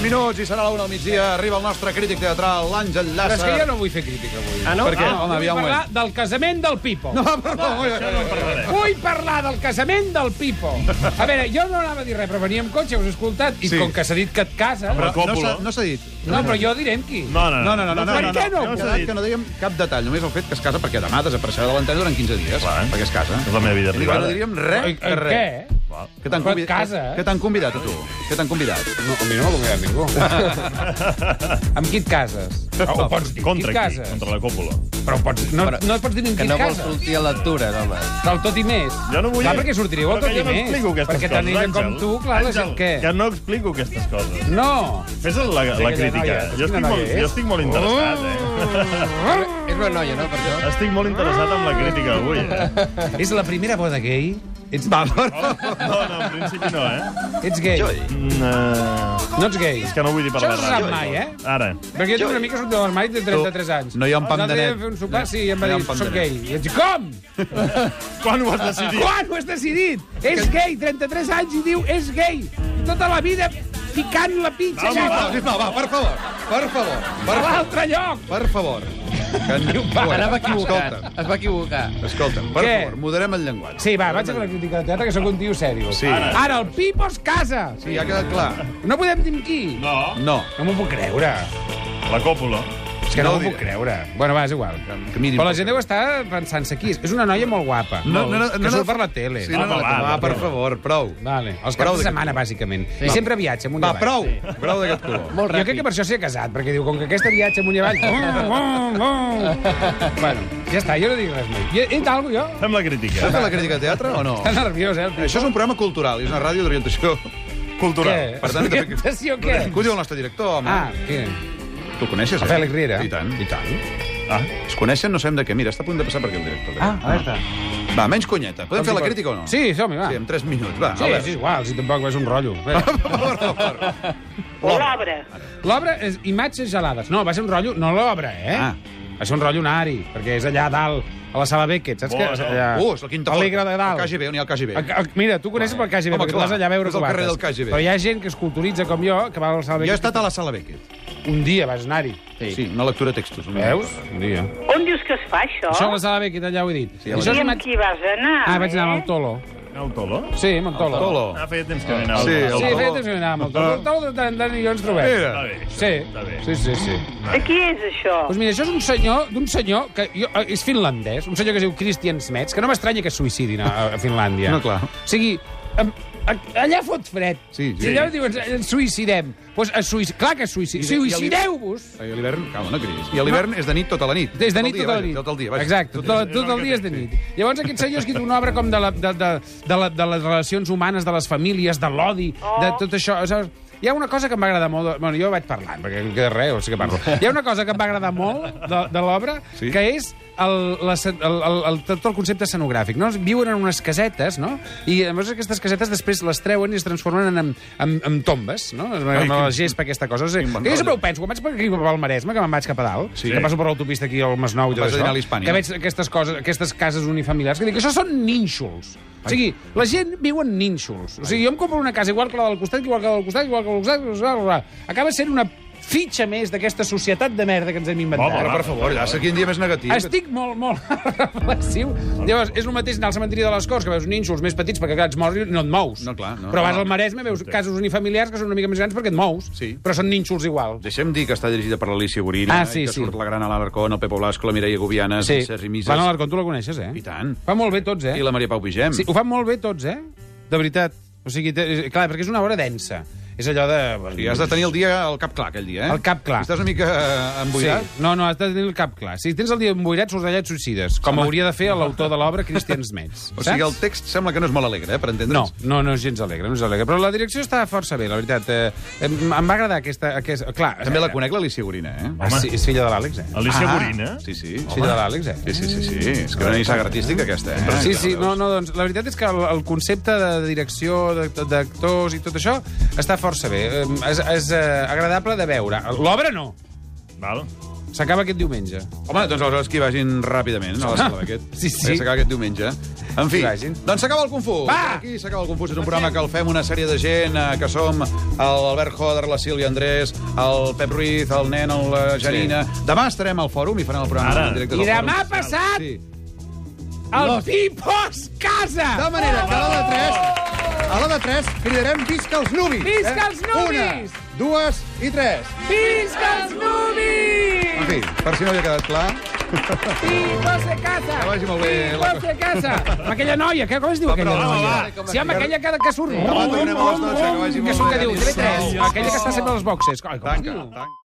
minuts i serà la una al migdia. Arriba el nostre crític teatral, l'Àngel Llàcer. Però és que jo no vull fer crítica avui. Ah, no? Per què? Ah, Home, vull aviam un parlar moment. del casament del Pipo. No, perdó, no, Vull parlar del casament del Pipo. A veure, jo no anava a dir res, però venia amb cotxe, us he escoltat, i Sí. com que s'ha dit que et cases... però no, no s'ha no s'ha dit. però jo diré amb qui. No, no, No, no, no, no, no, Per no, què no? Hem No s'ha quedat dit. que no dèiem cap detall, només el fet que es casa perquè demà desapareixerà de l'antena durant 15 dies, Clar. perquè es casa. És la meva vida I diu, privada. No diríem res, Eh, eh, de res. què? Val. Que t'han Però et convidat, casa, eh? que t'han convidat a tu. Que t'han convidat. No, a mi no m'ha convidat ningú. amb qui et cases? O Ah, ho pots dir, qui et Contra qui? cases? Contra la còpula. Però pots, no, Però- no pots dir amb Que qui no et vols cases. sortir a l'actura, home. Del tot i més. Jo no vull... Clar, perquè sortireu al Però tot que i jo no més. explico aquestes perquè coses, tant ella com Àngel. tu, clar, la Àngel, gent què? Que no explico aquestes coses. No. Fes la, la aquella crítica. noia, jo, quina estic molt, noia és? Oh! jo estic molt interessat, És una noia, no, per eh? això? Estic molt interessat amb la crítica avui, eh? És la primera boda gay? Ets, No, no, en principi no, eh? ets gay? Mm, eh, No ets gay? és que no vull dir per Això la no se ràdio. sap mai, eh? Ara. Perquè jo tinc una mica sóc de l'armari de 33 anys. Oh, No hi ha un pam de net. vam fer un sopar, sí, i em va No hi ha dir, un pam soc de net. gay. I ets, com? Quan ho has decidit? Quan ho has decidit? És gay, 33 anys, i diu, és gay. I tota la vida picant la pitxa Home, allà, Va, sisplau, va, per favor, per favor, a per, l'altre lloc. per favor. Que en... Anava equivocat. Escolta'm, Es va equivocar. escolta'm, per Què? favor, moderem el llenguatge. Sí, va, vaig a la crítica de teatre, que sóc un tio sèrio. Sí. Ara, el Pipo es casa. Sí, ha quedat clar. No podem dir amb qui. No, No, No m'ho puc creure. la còpula. És que No no, ho m'ho puc diré. creure. Bueno, va, és igual. Que mirin Però la poc. gent deu estar pensant-se qui és. És una noia molt guapa. No, no, no, que no, surt no. per la tele. Ah, Sí, no, Home, no, Ah, va, va, va, per prou. favor, prou. Vale. Els Prou caps de- de setmana, eh? bàsicament. Sí. I sempre viatja amunt i Va, avall. prou, prou d'aquest color. Molt Jo crec ràpid. que per això s'hi ha casat, perquè diu, com que aquesta viatja amunt i avall... Oh, oh, oh. bueno, ja està, jo no dic res més. I, i tal, jo? Fem la crítica. Has fet la crítica de teatre o no? Està nerviós, eh? el tio. Això és un programa cultural i és una ràdio d'orientació cultural. Què? Orientació què? Que ho diu el nostre director, home. Ah, què? Tu el coneixes, eh? El Fèlix Riera. I tant. I tant. Ah, Es coneixen, no sabem de què. Mira, està a punt de passar per aquí el director. eh? Ah, a veure. Va, menys conyeta. Podem Com fer si la pot- crítica o no? Sí, som-hi, va. Sí, en 3 minuts, va. Sí, és igual, si tampoc és un rotllo. Bé. L'obra. L'obra és Imatges gelades. No, va ser un rotllo... No l'obra, eh? Ah. Ah. Va ser un rotllo unari, perquè és allà a dalt, a la sala Beckett, saps Oh, què? no. Allà... Uh, és la quinta Alegre de dalt. El KGB, on hi ha el KGB. A- a- Ah, Mira, tu coneixes pel KGB, Home, perquè tu clar, vas allà a veure és el cubates. carrer del KGB. Però hi ha gent que es culturitza com jo, que va a la sala Jo he Beckett. estat a la sala Beckett. Un dia vas anar-hi. Sí, una lectura de textos. una Veus? cosa. Un dia. On dius que es fa, això? Això a la sala Beckett, allà ho he dit. Sí, a la- Això és I amb imat- qui vas anar, Ah, vaig anar eh? amb el Tolo. aneu tolo? Sí, amb el Tolo. Tolo. Ah, feia temps que no anava. Sí, al el Sí, Tolo. Tolo. feia temps que anar amb el Tolo. El Tolo de tant en tant i jo ens trobem. Mira. Està bé, això. Sí. Està bé. Sí, sí, sí. De qui és, això? Doncs mira, això és un senyor d'un senyor que jo, eh, és finlandès, un senyor que es diu Christian Smets, que no m'estranya que es suïcidin a, a Finlàndia. No, clar. O sigui, em- a- allà fot fred. Sí, sí. I allà diuen, ens suïcidem. Pues es suïci... Clar que es I suïci... de- i a l'hivern- Suïcideu-vos! I a l'hivern, calma, no cridis. I a l'hivern és de nit tota la nit. Des de Tot el nit dia, tota la vaja, nit. Tot el dia, vaja. Exacte, Tot tot, és tot el el que dia és de té, nit. Llavors aquest senyor ha escrit una obra com de, la, de, de, de, la, de les relacions humanes, de les famílies, de l'odi, de tot això. Saps? Hi ha una cosa que em va agradar molt... de- Bueno, jo vaig parlant, perquè no queda res, o sigui que parlo. Hi ha una cosa que em va agradar molt de, de l'obra, Sí? sí? que és el, la, el, el, el, tot el concepte escenogràfic. No? Viuen en unes casetes, no? I llavors aquestes casetes després les treuen i es transformen en, en, en, en tombes, no? Amb, amb la gespa, aquesta cosa. O sigui, Quin bon jo sempre rotllo. ho penso, quan vaig per aquí pel Maresme, que me'n vaig cap a dalt, Sí. sí. que passo per l'autopista aquí al Masnou i tot Vas a això, dinar a l'Hispània. que veig aquestes, coses, aquestes cases unifamiliars, que dic, això són nínxols. O sigui, la gent viu en nínxols. O sigui, jo em compro una casa igual que la del costat, igual que la del costat, igual que la del costat, igual que la del costat. Acaba sent una fitxa més d'aquesta societat de merda que ens hem inventat. Home, Però, per favor, ja sé quin dia més negatiu. Estic molt, molt reflexiu. Llavors, és el mateix anar al cementiri de les Corts, que veus nínxols més petits perquè clar, ets mort i no et mous. No, clar, no. Però vas No. al Maresme, veus casos unifamiliars que són una mica més grans perquè et mous, Sí. però són nínxols igual. Deixem dir que està dirigida per l'Alicia Borina, Ah, sí, i que sí. surt la gran Alan Arcón, el Pepo Blasco, la Mireia Gubiana, sí. Sergi Mises... Van a l'Arcon, tu la coneixes, eh? I tant. Fa molt bé tots, eh? I la Maria Pau Vigem. Sí, ho fan molt bé tots, eh? De veritat. O sigui, té- clar, perquè és una obra densa. És allò de... I has de tenir el dia al cap clar, aquell dia, eh? El cap clar. Estàs una mica eh, Sí. emboirat. No, no, has de tenir el cap clar. Si tens el dia emboirat, surts allà i et suïcides, com hauria de fer l'autor de l'obra, Christian Smets. O sigui, el saps? text sembla que no és molt alegre, eh, per No, entendre'ns. no, no és gens alegre, no és alegre. Però la direcció està força bé, la veritat. Eh, em, em va agradar aquesta... aquesta clar, També la conec, l'Alicia Gorina, eh? Ah. Ah, sí, és filla de l'Àlex, eh? Alicia Gorina? Sí, sí. És Filla de l'Àlex, eh? Sí, sí, sí, sí. És que una nissaga artística, aquesta, eh? Sí, sí, no, no, doncs la veritat és que el, el concepte de direcció, de- d'actors i tot això està força bé. Eh, És, és eh, agradable de veure. L'obra no. Val. S'acaba aquest diumenge. Home, doncs aleshores que hi vagin ràpidament a la sala d'aquest. Sí, sí. Perquè S'acaba aquest diumenge. En fi, Que vagin. doncs s'acaba el Confús. Va! Aquí s'acaba el Confús. És un programa que el fem una sèrie de gent, eh, que som l'Albert Joder, la Sílvia Andrés, el Pep Ruiz, el nen, el- la Janina. Demà estarem al fòrum i farem el programa Ara. en directe I del demà fòrum. passat, Sí. el Pipo es casa! De manera que a la de 3, a la de 3 cridarem visca els eh? nubis. Visca els nubis! Una, dues i tres. Visca els nubis! En fi, per si no havia quedat clar, Pipo se casa! Que vagi molt bé la cosa. Pipo se casa! Amb aquella noia, que, com es diu aquella va, noia? va. ah, Sí, amb aquella que, que surt. demà tornem a les 12, que vagi Que molt surt, que bé. diu, TV3, aquella que està sempre a les boxes. Ai, com es Tanca, diu? tanca.